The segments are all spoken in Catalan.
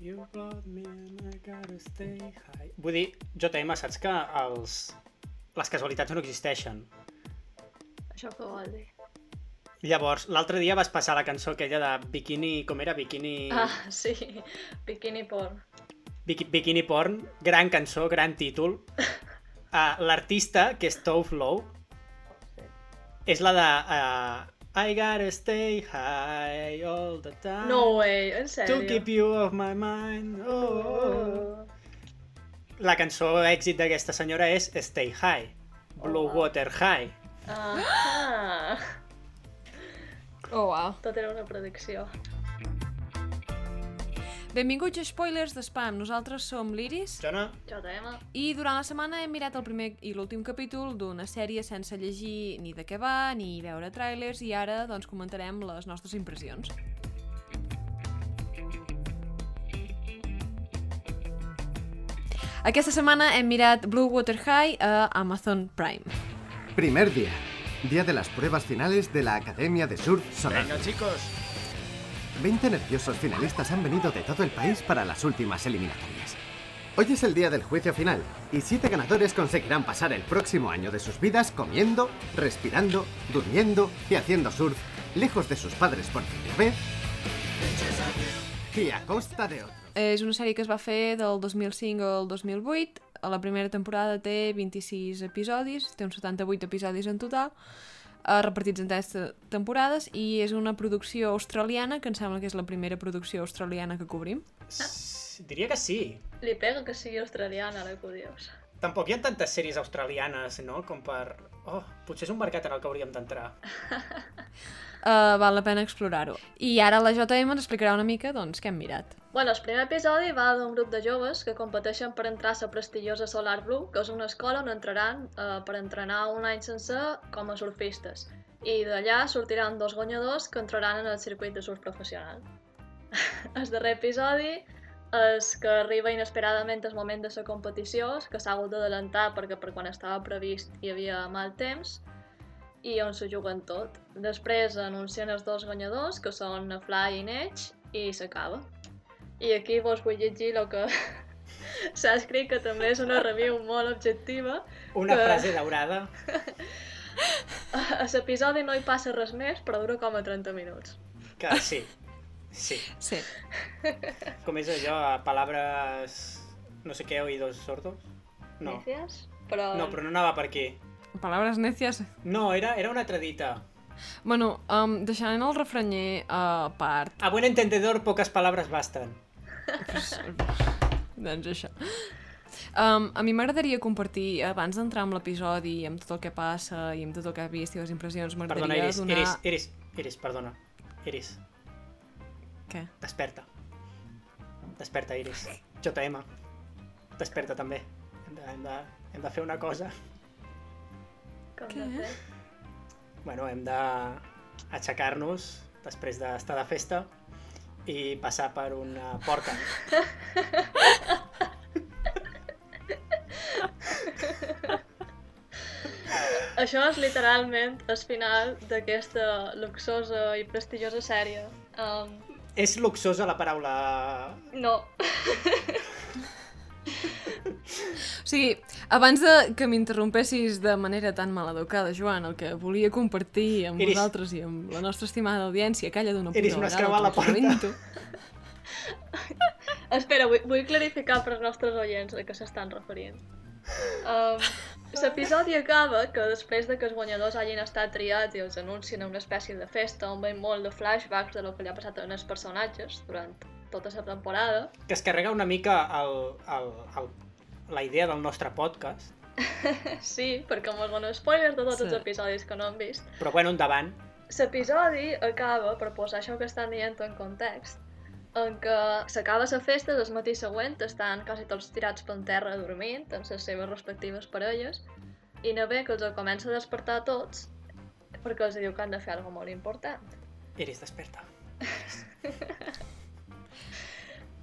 You brought me and I gotta stay high. Vull dir, JM, saps que els... les casualitats no existeixen. Això que vol dir. Llavors, l'altre dia vas passar la cançó aquella de Bikini... Com era? Bikini... Ah, sí. Bikini porn. Biki- Bikini Porn. Gran cançó, gran títol. Uh, L'artista, que és Tove Low, és la de... Uh, I gotta stay high all the time. No way, en To sèrio. keep you off my mind. Oh, oh, oh. La cançó èxit d'aquesta senyora és Stay High, Blue Home. Water High. Ah, Oh, wow. tot era una predicció. Benvinguts a Spoilers de Spam. Nosaltres som l'Iris Jona? JM. i durant la setmana hem mirat el primer i l'últim capítol d'una sèrie sense llegir ni de què va, ni veure trailers i ara doncs comentarem les nostres impressions. Aquesta setmana hem mirat Blue Water High a Amazon Prime. Primer día. Día de las pruebas finales de la Academia de Surf Solar. chicos. 20 nerviosos finalistas han venido de todo el país para las últimas eliminatorias. Hoy es el día del juicio final y siete ganadores conseguirán pasar el próximo año de sus vidas comiendo, respirando, durmiendo y haciendo surf lejos de sus padres por primera vez y a costa de otros. Eh, És una sèrie que es va fer del 2005 al 2008. A la primera temporada té 26 episodis, té uns 78 episodis en total, eh, repartits en 3 temporades, i és una producció australiana, que em sembla que és la primera producció australiana que cobrim. Diria que sí. Li pega que sigui australiana, la curiosa. Tampoc hi ha tantes sèries australianes, no? Com per... Oh, potser és un mercat en el que hauríem d'entrar. Uh, val la pena explorar-ho. I ara la JM ens explicarà una mica doncs, què hem mirat. Bueno, el primer episodi va d'un grup de joves que competeixen per entrar a la prestigiosa Solar Blue, que és una escola on entraran eh, per entrenar un any sencer com a surfistes. I d'allà sortiran dos guanyadors que entraran en el circuit de surf professional. el darrer episodi és que arriba inesperadament el moment de la competició, que s'ha hagut d'adelantar perquè per quan estava previst hi havia mal temps, i on s'ho juguen tot. Després anuncien els dos guanyadors, que són a Fly i Edge, i s'acaba. I aquí vos vull llegir el que s'ha escrit, que també és una review molt objectiva. Una Eh. frase daurada. A l'episodi no hi passa res més, però dura com a 30 minuts. Que sí. Sí. Sí. Com és allò, a palabres... No sé què, oídos sordos? No. Gràcies. Però... No, però no anava per aquí. Paraules necias. No, era, era una altra dita. Bueno, um, deixant el refranyer a part, A buen entendedor, poques palabres basten. Doncs això. Um, a mi m'agradaria compartir, abans d'entrar amb l'episodi, amb tot el que passa i amb tot el que has vist i les impressions, Perdona, m'agradaria Iris, donar... Iris, Iris, Iris, perdona. Iris, Què? desperta. Desperta, Iris. JM. Desperta, també. Hem de, hem de, hem de fer una cosa. Com Què? de fet. Bueno, hem de aixecar-nos després d'estar de festa i passar per una porta. Això és literalment el final d'aquesta luxosa i prestigiosa sèrie. Um, És luxosa la paraula... no, O sigui, abans de que m'interrompessis de manera tan maleducada, Joan, el que volia compartir amb Iris. vosaltres i amb la nostra estimada audiència, calla d'una puta Iris, m'has vegada, creuat la t'ho lamento. Espera, vull, vull clarificar per als nostres oients a què s'estan referint. Um, L'episodi acaba que després de que els guanyadors hagin estat triats i els anuncien a una espècie de festa on veiem molt de flashbacks de lo que li ha passat a els personatges durant tota la temporada. que es carrega una mica el, el, el, la idea del nostre podcast, Sí, perquè mos donen spoilers de tots Sí. els episodis que no han vist. però bueno, endavant. L'episodi acaba, per posar això que estan dient en context, en què s'acaba la festa, el matí següent estan quasi tots tirats per terra dormint amb les seves respectives parelles i na bé que els comença a despertar a tots perquè els diu que han de fer alguna molt important. Iris, desperta.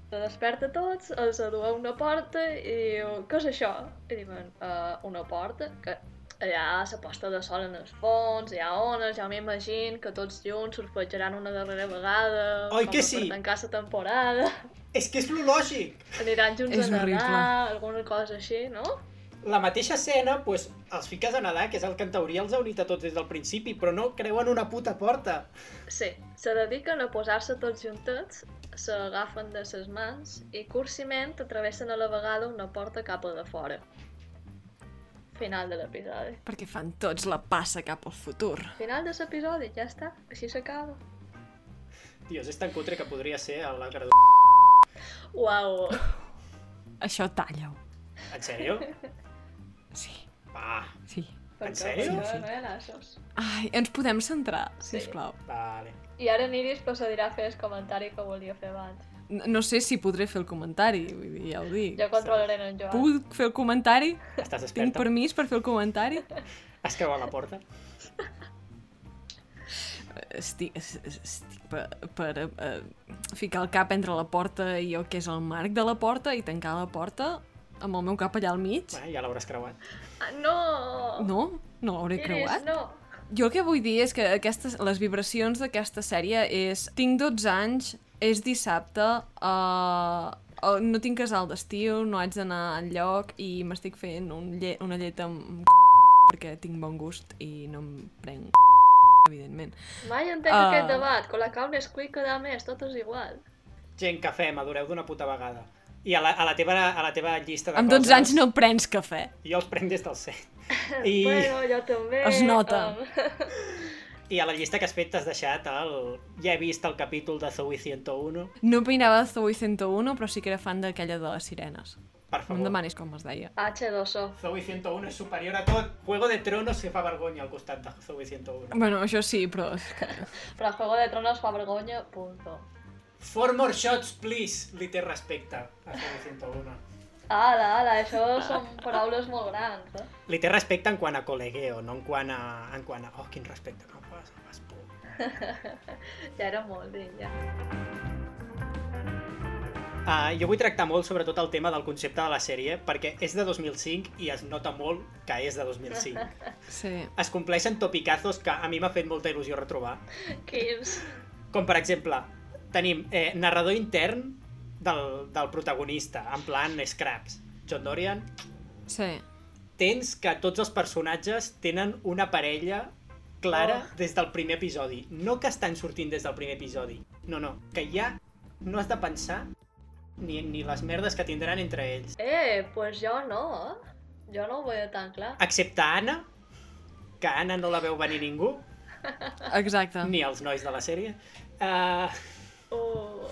Se desperta a tots, els adu a una "Eh, porta i diu, què és això? I diuen, uh, una porta? Que allà la posta de sol en els fons, hi ha ones, ja m'imagino que tots junts surfejaran una darrera vegada. Oi com que sí? Per tancar la temporada. És que és lo lògic. Aniran junts És a nedar, horrible. alguna cosa així, no? La mateixa escena, pues, els fiques a nedar, que és el que en teoria els ha unit a tots des del principi, però no creuen una puta porta. Sí, se dediquen a posar-se tots juntets, s'agafen de ses mans i cursiment travessen a la vegada una porta cap a de fora. Final de l'episodi. Perquè fan tots la passa cap al futur. Final de l'episodi, ja està, així s'acaba. Dios, és tan cutre que podria ser a la gradu... Uau! Això talla-ho. En sèrio? Sí, Va, sí. En sèrio? Sí, Sí. sí. No hi ha nassos. Ai, ens podem centrar, Sí. sisplau. vale. I ara Niris procedirà a fer el comentari que volia fer abans. No, no sé si podré fer el comentari, vull dir, ja ho dic. Jo controlaré en Joan. Puc fer el comentari? Estàs Tinc desperta? permís per fer el comentari? Has creuat la porta? Estic, es- es- estic per, per eh, ficar el cap entre la porta i el que és el marc de la porta i tancar la porta amb el meu cap allà al mig. Va, ja l'hauràs creuat. Ah, no! No? No l'hauré Iris, creuat? no! Jo el que vull dir és que aquestes, les vibracions d'aquesta sèrie és... Tinc 12 anys, és dissabte, uh, no tinc casal d'estiu, no haig d'anar enlloc i m'estic fent un lle una llet amb c... perquè tinc bon gust i no em prenc c... evidentment. Mai entenc Ah. aquest debat. Con la calma es cuica de més, tot és igual. Gent, cafè, madureu d'una puta vegada. I a la, a la, teva, a la teva llista de Amb coses... 12 anys no prens cafè. Jo els prenc des del set. I, Bueno, jo també... Es nota. I a la llista que has fet t'has deixat el... Ja he vist el capítol de Zoe 101. No opinava de Zoe 101, però sí que era fan d'aquella de les sirenes. Per No em favor. demanis com es deia. H2O. Zoe 101 és superior a tot. Juego de Tronos se fa vergonya al costat de Zoe 101. Bueno, això sí, però... és que- Però Juego de Tronos fa vergonya, punto. Four more shots, please! Li té respecte a Zoe 101. Ala, ala, això són paraules molt grans, eh? Li té respecte en quant a col·legueo, no en quant a... En quant a... Oh, quin respecte que em fas, em fas por. Ja era molt, dir, ja. Ah, jo vull tractar molt sobretot el tema del concepte de la sèrie perquè és de 2005 i es nota molt que és de 2005. Sí. Es compleixen topicazos que a mi m'ha fet molta il·lusió retrobar. Quins... Com per exemple, tenim eh, narrador intern del, del protagonista, en plan Scraps. John Dorian, Sí. tens que tots els personatges tenen una parella clara Oh. des del primer episodi. No que estan sortint des del primer episodi. No, no. Que ja no has de pensar ni, ni les merdes que tindran entre ells. Eh, pues jo no, eh? Jo no ho veia tan clar. excepte Anna, que Anna no la veu venir ningú, Exacte. ni els nois de la sèrie. Uh, Uh,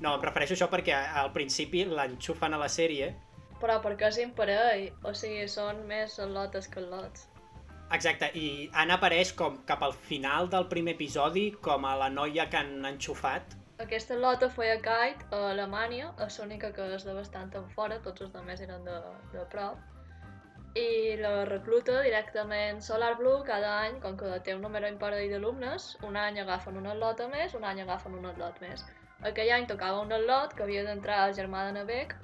no, em refereixo a això perquè al principi l'enxufen a la sèrie. però perquè és imparell, o sigui, són més al·lotes que al·lots. Exacte, i Anna apareix com cap al final del primer episodi com a la noia que han enxufat. Aquesta lota feia kite a Alemanya, és l'única que és de bastant en fora, tots els altres eren de, de prop. I la recluta directament Solar Blue cada any, com que té un número imparell d'alumnes, un any agafen un lota més, un any agafen un lot més. Aquell any tocava un lot que havia d'entrar al germà de Nabec,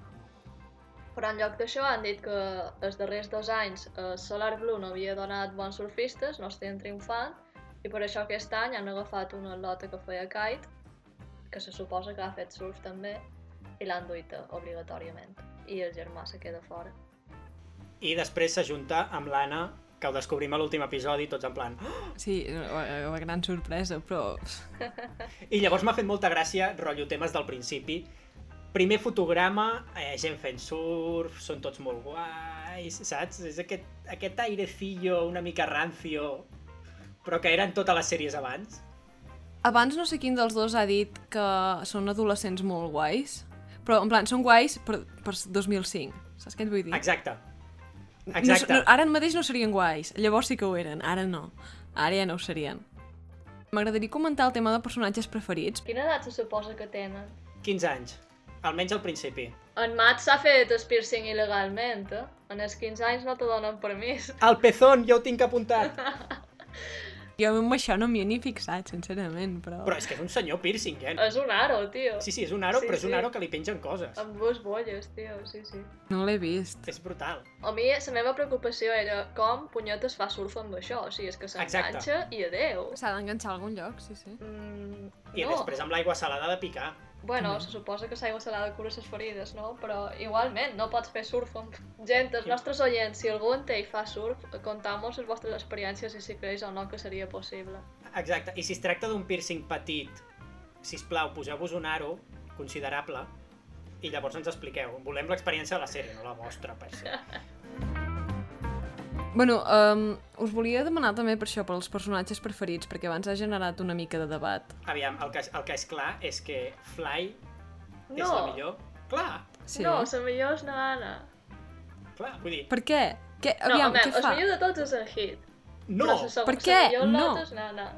però en lloc d'això han dit que els darrers dos anys eh, Solar Blue no havia donat bons surfistes, no estien triomfant, i per això aquest any han agafat una lota que feia kite que se suposa que ha fet surf també, i l'han duit eh, obligatòriament. I el germà se queda fora. I després s'ajunta amb l'Anna, que ho descobrim a l'últim episodi, tots en plan... "Ah!" Sí, una una gran sorpresa, però... I llavors m'ha fet molta gràcia, rotllo temes del principi. Primer fotograma, eh, gent fent surf, són tots molt guais, saps? És aquest, aquest airecillo una mica rancio, però que eren totes les sèries abans. Abans no sé quin dels dos ha dit que són adolescents molt guais, però en plan, són guais per, per 2005, saps què et vull dir? Exacte. No- Exacte. No, ah. ara mateix no serien guais, llavors sí que ho eren, ara no. Ara ja no ho serien. M'agradaria comentar el tema de personatges preferits. Quina edat se suposa que tenen? 15 anys, almenys al principi. En Matt s'ha fet el piercing il·legalment, eh? En els 15 anys no te donen permís. El pezón, jo ho tinc apuntat. Jo amb això no m'hi he ni fixat, sincerament, però... Però és que és un senyor piercing, eh? Ah. És un aro, tio. Sí, sí, és un aro, Sí, però és un sí. aro que li pengen coses. Ah. Amb dues bolles, tio, sí, sí. No l'he vist. És brutal. A mi la meva preocupació era com punyetes fa surf amb això, o sigui, és que Exacte. s'enganxa i adeu. S'ha d'enganxar a algun lloc, sí, sí. Mm, I no. després amb l'aigua salada de picar. Bueno, Mm. se suposa que l'aigua salada cura les ferides, no? Però igualment, no pots fer surf amb... Gent, els nostres oients, si algú en té i fa surf, contamos les vostres experiències i si creus o no que seria possible. Exacte. I si es tracta d'un piercing petit, si plau, poseu-vos un aro considerable i llavors ens expliqueu. Volem l'experiència de la sèrie, no la vostra, per ser. Bueno, um, us volia demanar també per això, pels personatges preferits, perquè abans ha generat una mica de debat. Aviam, el que, el que és clar és que Fly no. és la No, millor. Clar, Sí. no, la millor és na Anna. clar, vull dir, Per què? Què, No, aviam, home, què el fa? millor de tots és en Hit. no! Però se- Per se- què? se- jo el No. lot és na Anna.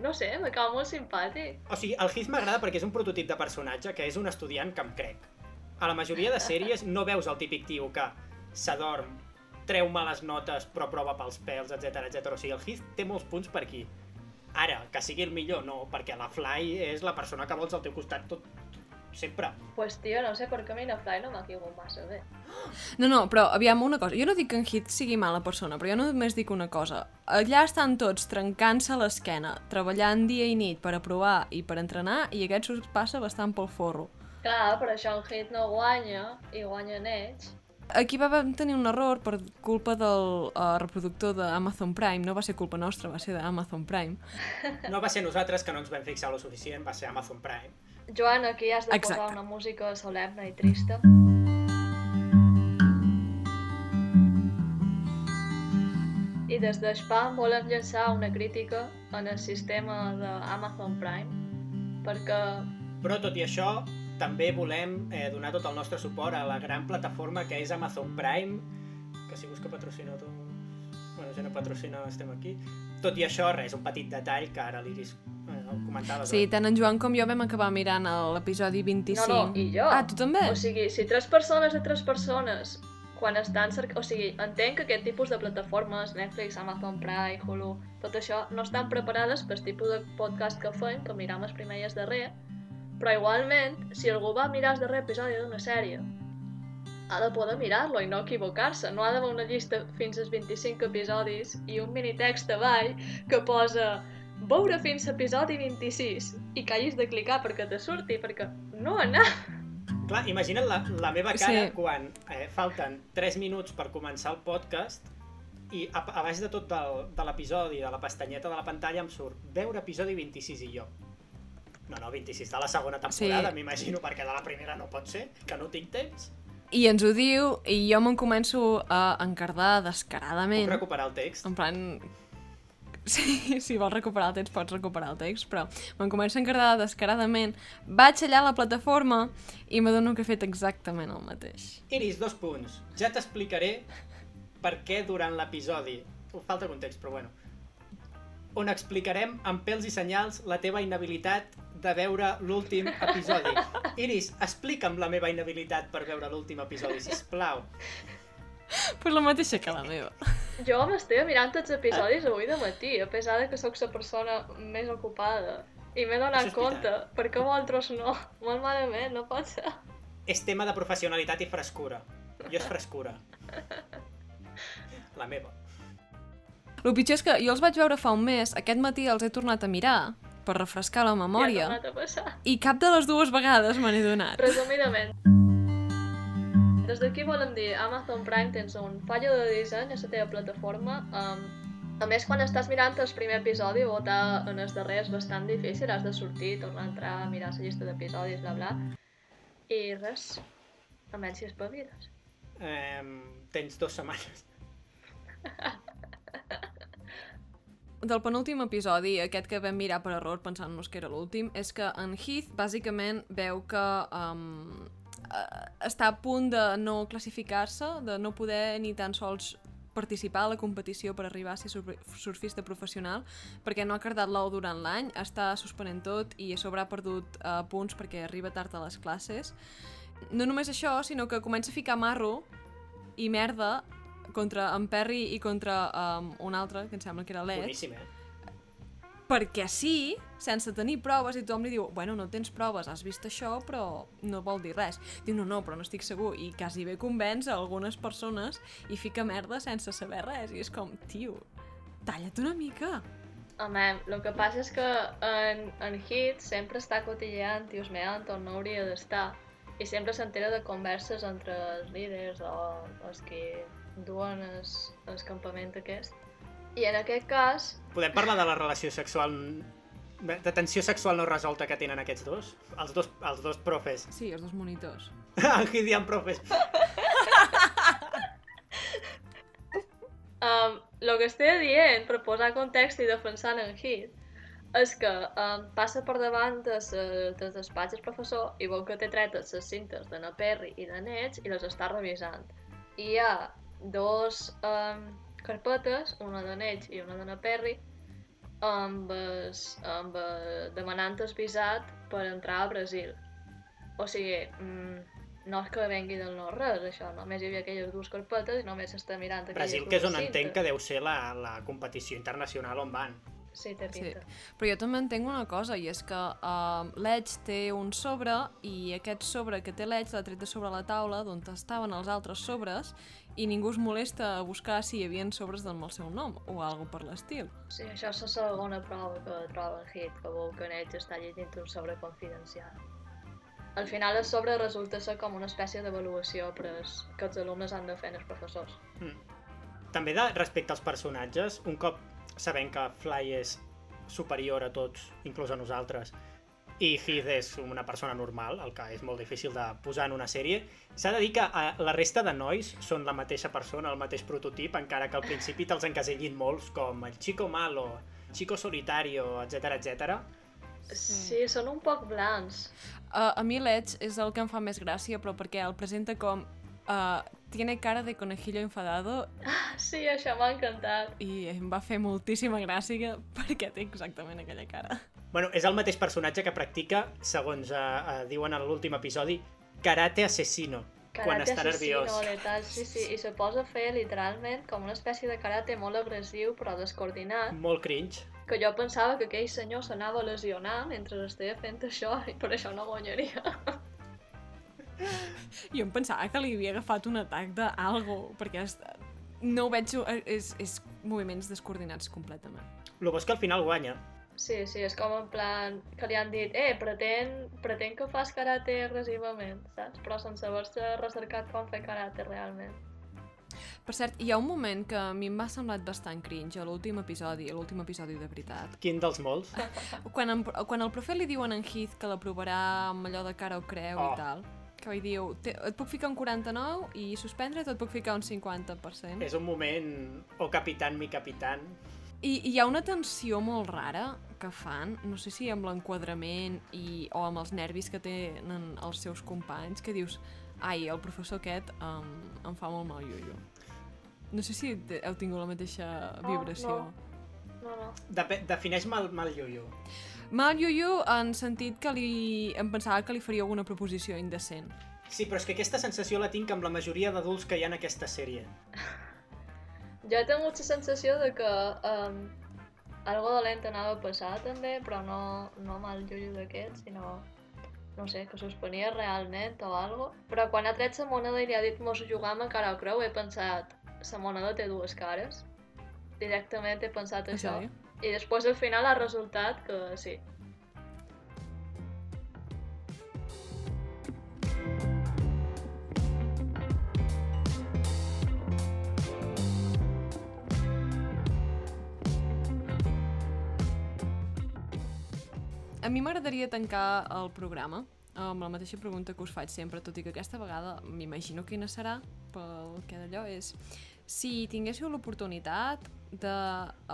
No sé, me cau molt simpàtic. O sigui, el Heath m'agrada perquè és un prototip de personatge que és un estudiant que em crec. A la majoria de sèries no veus el típic tio que s'adorm, treu males notes, però prova pels pèls, etc etc. O sigui, el Heath té molts punts per aquí. Ara, que sigui el millor, no, perquè la Fly és la persona que vols al teu costat tot, sempre. Pues tio, no sé per què a mi na Fly no m'ha caigut massa bé. No, no, però aviam una cosa. Jo no dic que en Hit sigui mala persona, però jo només dic una cosa. Allà estan tots trencant-se l'esquena, treballant dia i nit per aprovar i per entrenar, i aquest s'ho passa bastant pel forro. Clar, però això en Hit no guanya, i guanyen ells. Aquí va- vam tenir un error per culpa del uh, reproductor d'Amazon Prime. No va ser culpa nostra, va ser d'Amazon Prime. No va ser nosaltres que no ens vam fixar lo suficient, va ser Amazon Prime. Joan, aquí has de Exacte. Exacte. posar una música solemne i trista. I des de Spam volem llançar una crítica en el sistema d'Amazon Prime perquè Però tot i això, també volem eh, donar tot el nostre suport a la gran plataforma que és Amazon Prime, que si busca patrocinador... Bueno, ja no patrocina, estem aquí. Tot i això, res, un petit detall que ara l'Iris eh, ho comentava. Sí, doncs. tant en Joan com jo vam acabar mirant el- l'episodi 25. No, no, i jo. Ah, tu també? O sigui, si tres persones de tres persones quan estan cerc... O sigui, entenc que aquest tipus de plataformes, Netflix, Amazon Prime, Hulu, tot això, no estan preparades pel tipus de podcast que fem, que miram els primer i el darrer, però igualment, si algú va mirar el darrer episodi d'una sèrie, ha de poder mirar-lo i no equivocar-se. No ha d'haver una llista fins als 25 episodis i un minitext avall que posa veure fins a episodi 26 i que hagis de clicar perquè te surti, perquè no anar Clar, imagina't la, la meva cara Sí. sí. quan eh, falten 3 minuts per començar el podcast i a, a baix de tot del, de l'episodi, de la pestanyeta de la pantalla, em surt veure episodi 26 i jo. No, no, 26 de la segona temporada, Sí. m'imagino, perquè de la primera no pot ser, que no tinc temps. I ens ho diu, i jo me'n començo a encardar Puc descaradament. recuperar el text? En plan... Sí, si vols recuperar el text, pots recuperar el text, però me'n començo a encardar descaradament. Vaig allà a la plataforma i m'adono que he fet exactament el mateix. Iris, dos punts. Ja t'explicaré per què durant l'episodi... Ho Falta context, però bueno. On explicarem amb pèls i senyals la teva inhabilitat de veure l'últim episodi. Iris, explica'm la meva inhabilitat per veure l'últim episodi, si plau. Pues la mateixa que la meva. Jo m'estic mirant tots els episodis avui de matí, a pesar de que sóc la persona més ocupada. I m'he donat Això és compte, perquè vosaltres no. Molt malament, no pot ser. És tema de professionalitat i frescura. Jo és frescura. La meva. El pitjor és que jo els vaig veure fa un mes, aquest matí els he tornat a mirar per refrescar la Ja ha memòria tornat a passar. i cap de les dues vegades me n'he donat. Resumidament. Des d'aquí volem dir, Amazon Prime tens un fallo de disseny a la teva plataforma. Um, a més, quan estàs mirant el primer episodi, votar en el darrer és bastant difícil, has de sortir, tornar a entrar, mirar la llista d'episodis, bla bla. I res, almenys si espaviles. Eh, tens dues setmanes. Del penúltim episodi, aquest que vam mirar per error pensant-nos que era l'últim, és que en Heath bàsicament veu que um, eh, està a punt de no classificar-se, de no poder ni tan sols participar a la competició per arribar a ser surfi- surfista professional perquè no ha cardat l'ou durant l'any, està suspenent tot i a sobre ha perdut eh, punts perquè arriba tard a les classes. No només això, sinó que comença a ficar marro i merda contra en Perry i contra um, un altre, que em sembla que era l'Ed. Boníssim, eh? perquè sí, sense tenir proves, i tothom li diu, bueno, no tens proves, has vist això, però no vol dir res. Diu, no, no, però no estic segur, i quasi bé convenç a algunes persones i fica merda sense saber res, i és com, tio, talla't una mica. Home, el que passa és que en, en Hit sempre està cotilleant i osmeant on no hauria d'estar i sempre s'entera de converses entre els líders o els que duen el, el campament aquest. I en aquest cas, Podem parlar de la relació sexual de tensió sexual no resolta que tenen aquests dos? Els dos, els dos profes. Sí, els dos monitors. Angidian profes. Um, lo que estic dient, per posar context i defensar en Hit, és que um, passa per davant des, des despatx del professor i veu que té tretes les cintes de na Perry i de Nets i les està revisant. I hi ha dos um, carpetes, una de Nets i una de na Perry, amb, es, amb eh, demanant el visat per entrar a Brasil. O sigui, mm, no és que vengui del no-res, això. Només hi havia aquelles dues carpetes i només s'està mirant aquelles Brasil, que és dues on entenc que cintes. deu ser la, la competició internacional on van. Sí, té Sí. pinta. Però jo també entenc una cosa, i és que uh, l'Edge té un sobre, i aquest sobre que té l'Edge l'ha tret de sobre la taula d'on estaven els altres sobres, i ningú es molesta a buscar si hi havia sobres amb el seu nom, o algo per l'estil. Sí, això és la segona prova que troba el hit, que veu que Nets està llegint un sobre confidencial. Al final el sobre resulta ser com una espècie d'avaluació per es- que els alumnes han de fer als professors. Mm. També de, respecte als personatges, un cop sabent que Fly és superior a tots, inclús a nosaltres, i Heath és una persona normal, el que és molt difícil de posar en una sèrie, s'ha de dir que eh, la resta de nois són la mateixa persona, el mateix prototip, encara que al principi te'ls encasellin molts, com el chico malo, chico solitario, etc etc. Sí, són un poc blancs. Uh, a mi l'Edge és el que em fa més gràcia, però perquè el presenta com... Uh, tiene cara de conejillo enfadado Ah, Sí, això m'ha encantat. i em va fer moltíssima gràcia perquè té exactament aquella cara. Bueno, és el mateix personatge que practica, segons eh, eh, diuen en l'últim episodi, karate asesino, quan Karate està assassino, nerviós. letal, sí, sí, i se posa a fer literalment com una espècie de karate molt agressiu però descoordinat, Molt cringe. que jo pensava que aquell senyor s'anava lesionant mentre estava fent això i per això no guanyaria. Jo em pensava que li havia agafat un atac d'algo, perquè es, no ho veig... És, és moviments descoordinats completament. Lo bo és que al final guanya. Sí, sí, és com en plan que li han dit eh, pretén, pretén que fas karate agressivament, saps? Però sense haver-se recercat com fer karate realment. Per cert, hi ha un moment que a mi m'ha semblat bastant cringe a l'últim episodi, a l'últim episodi de veritat. Quin dels molts? Quan, en, quan el profe li diuen en Heath que l'aprovarà amb allò de cara o creu Oh. i tal, que li diu, "Te- et puc ficar un 49 i suspendre't o et puc ficar un 50%. És un moment... O capitán, mi capitán. I, I hi ha una tensió molt rara que fan, no sé si amb l'enquadrament i, o amb els nervis que tenen els seus companys, que dius, ai, el professor aquest em, em fa molt mal, Yuyu. No sé si te- heu tingut la mateixa No, vibració. no. No, no. Depe- Defineix mal, mal yuyu. Mal Yuyu en sentit que li... em pensava que li faria alguna proposició indecent. Sí, però és que aquesta sensació la tinc amb la majoria d'adults que hi ha en aquesta sèrie. Jo he tingut la sensació de que um, algo dolent anava a passar també, però no, no amb el jojo d'aquest, sinó no sé, que suspenia realment o algo. Però quan ha tret la moneda i li ha dit mos jugam a cara o creu, he pensat, la moneda té dues cares. Directament he pensat En això. sèrio? I després al final ha resultat que sí, A mi m'agradaria tancar el programa amb la mateixa pregunta que us faig sempre, tot i que aquesta vegada m'imagino quina serà, pel que d'allò és... Si tinguéssiu l'oportunitat de...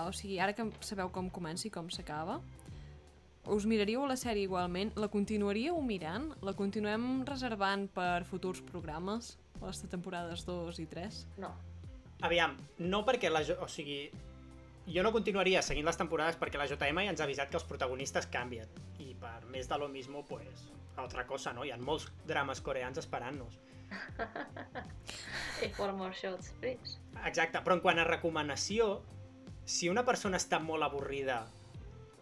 O sigui, ara que sabeu com comença i com s'acaba, us miraríeu la sèrie igualment? La continuaríeu mirant? La continuem reservant per futurs programes? Les temporades 2 i 3? no. Aviam, no perquè la... jo- O sigui, jo no continuaria seguint les temporades perquè la JM ja ens ha avisat que els protagonistes canvien. I per més de lo mismo, pues, altra cosa, no? Hi ha molts drames coreans esperant-nos. I for more shots, please. Exacte, però en quant a recomanació, si una persona està molt avorrida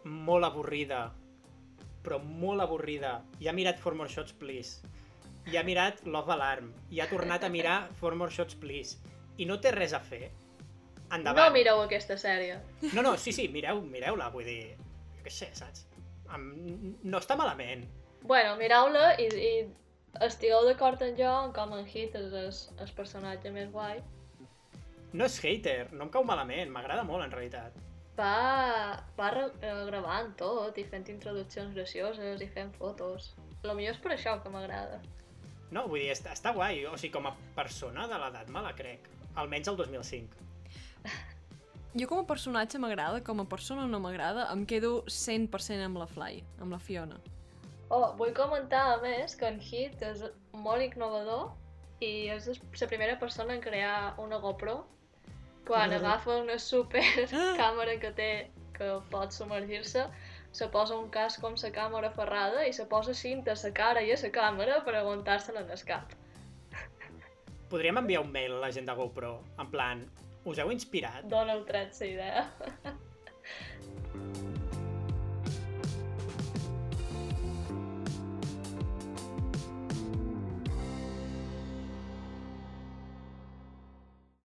molt avorrida, però molt avorrida, i ha mirat For More Shots Please, i ha mirat Love Alarm, i ha tornat a mirar For More Shots Please, i no té res a fer, endavant. No mireu aquesta sèrie. No, no, sí, sí, mireu, mireu-la, vull dir, jo què sé, saps? Em- No està malament. Bueno, mireu-la i, i estigueu d'acord amb jo en com en Heath és, és el personatge més guai. No és hater, no em cau malament, m'agrada molt, en realitat. Va, va re- eh, gravant tot i fent introduccions gracioses i fent fotos. Lo millor és per això que m'agrada. No, vull dir, està, està guai, o sigui, com a persona de l'edat me la crec, almenys el 2005. Jo com a personatge m'agrada, com a persona no m'agrada, em quedo 100% amb la Fly, amb la Fiona. Oh, vull comentar a més que en Hit és molt innovador i és la primera persona en crear una GoPro quan agafa una super càmera que té que pot submergir-se se posa un cas com la càmera ferrada i se posa cinta a la cara i a la càmera per aguantar-se-la en el cap. Podríem enviar un mail a la gent de GoPro, en plan, us heu inspirat? Dona'l tret la idea.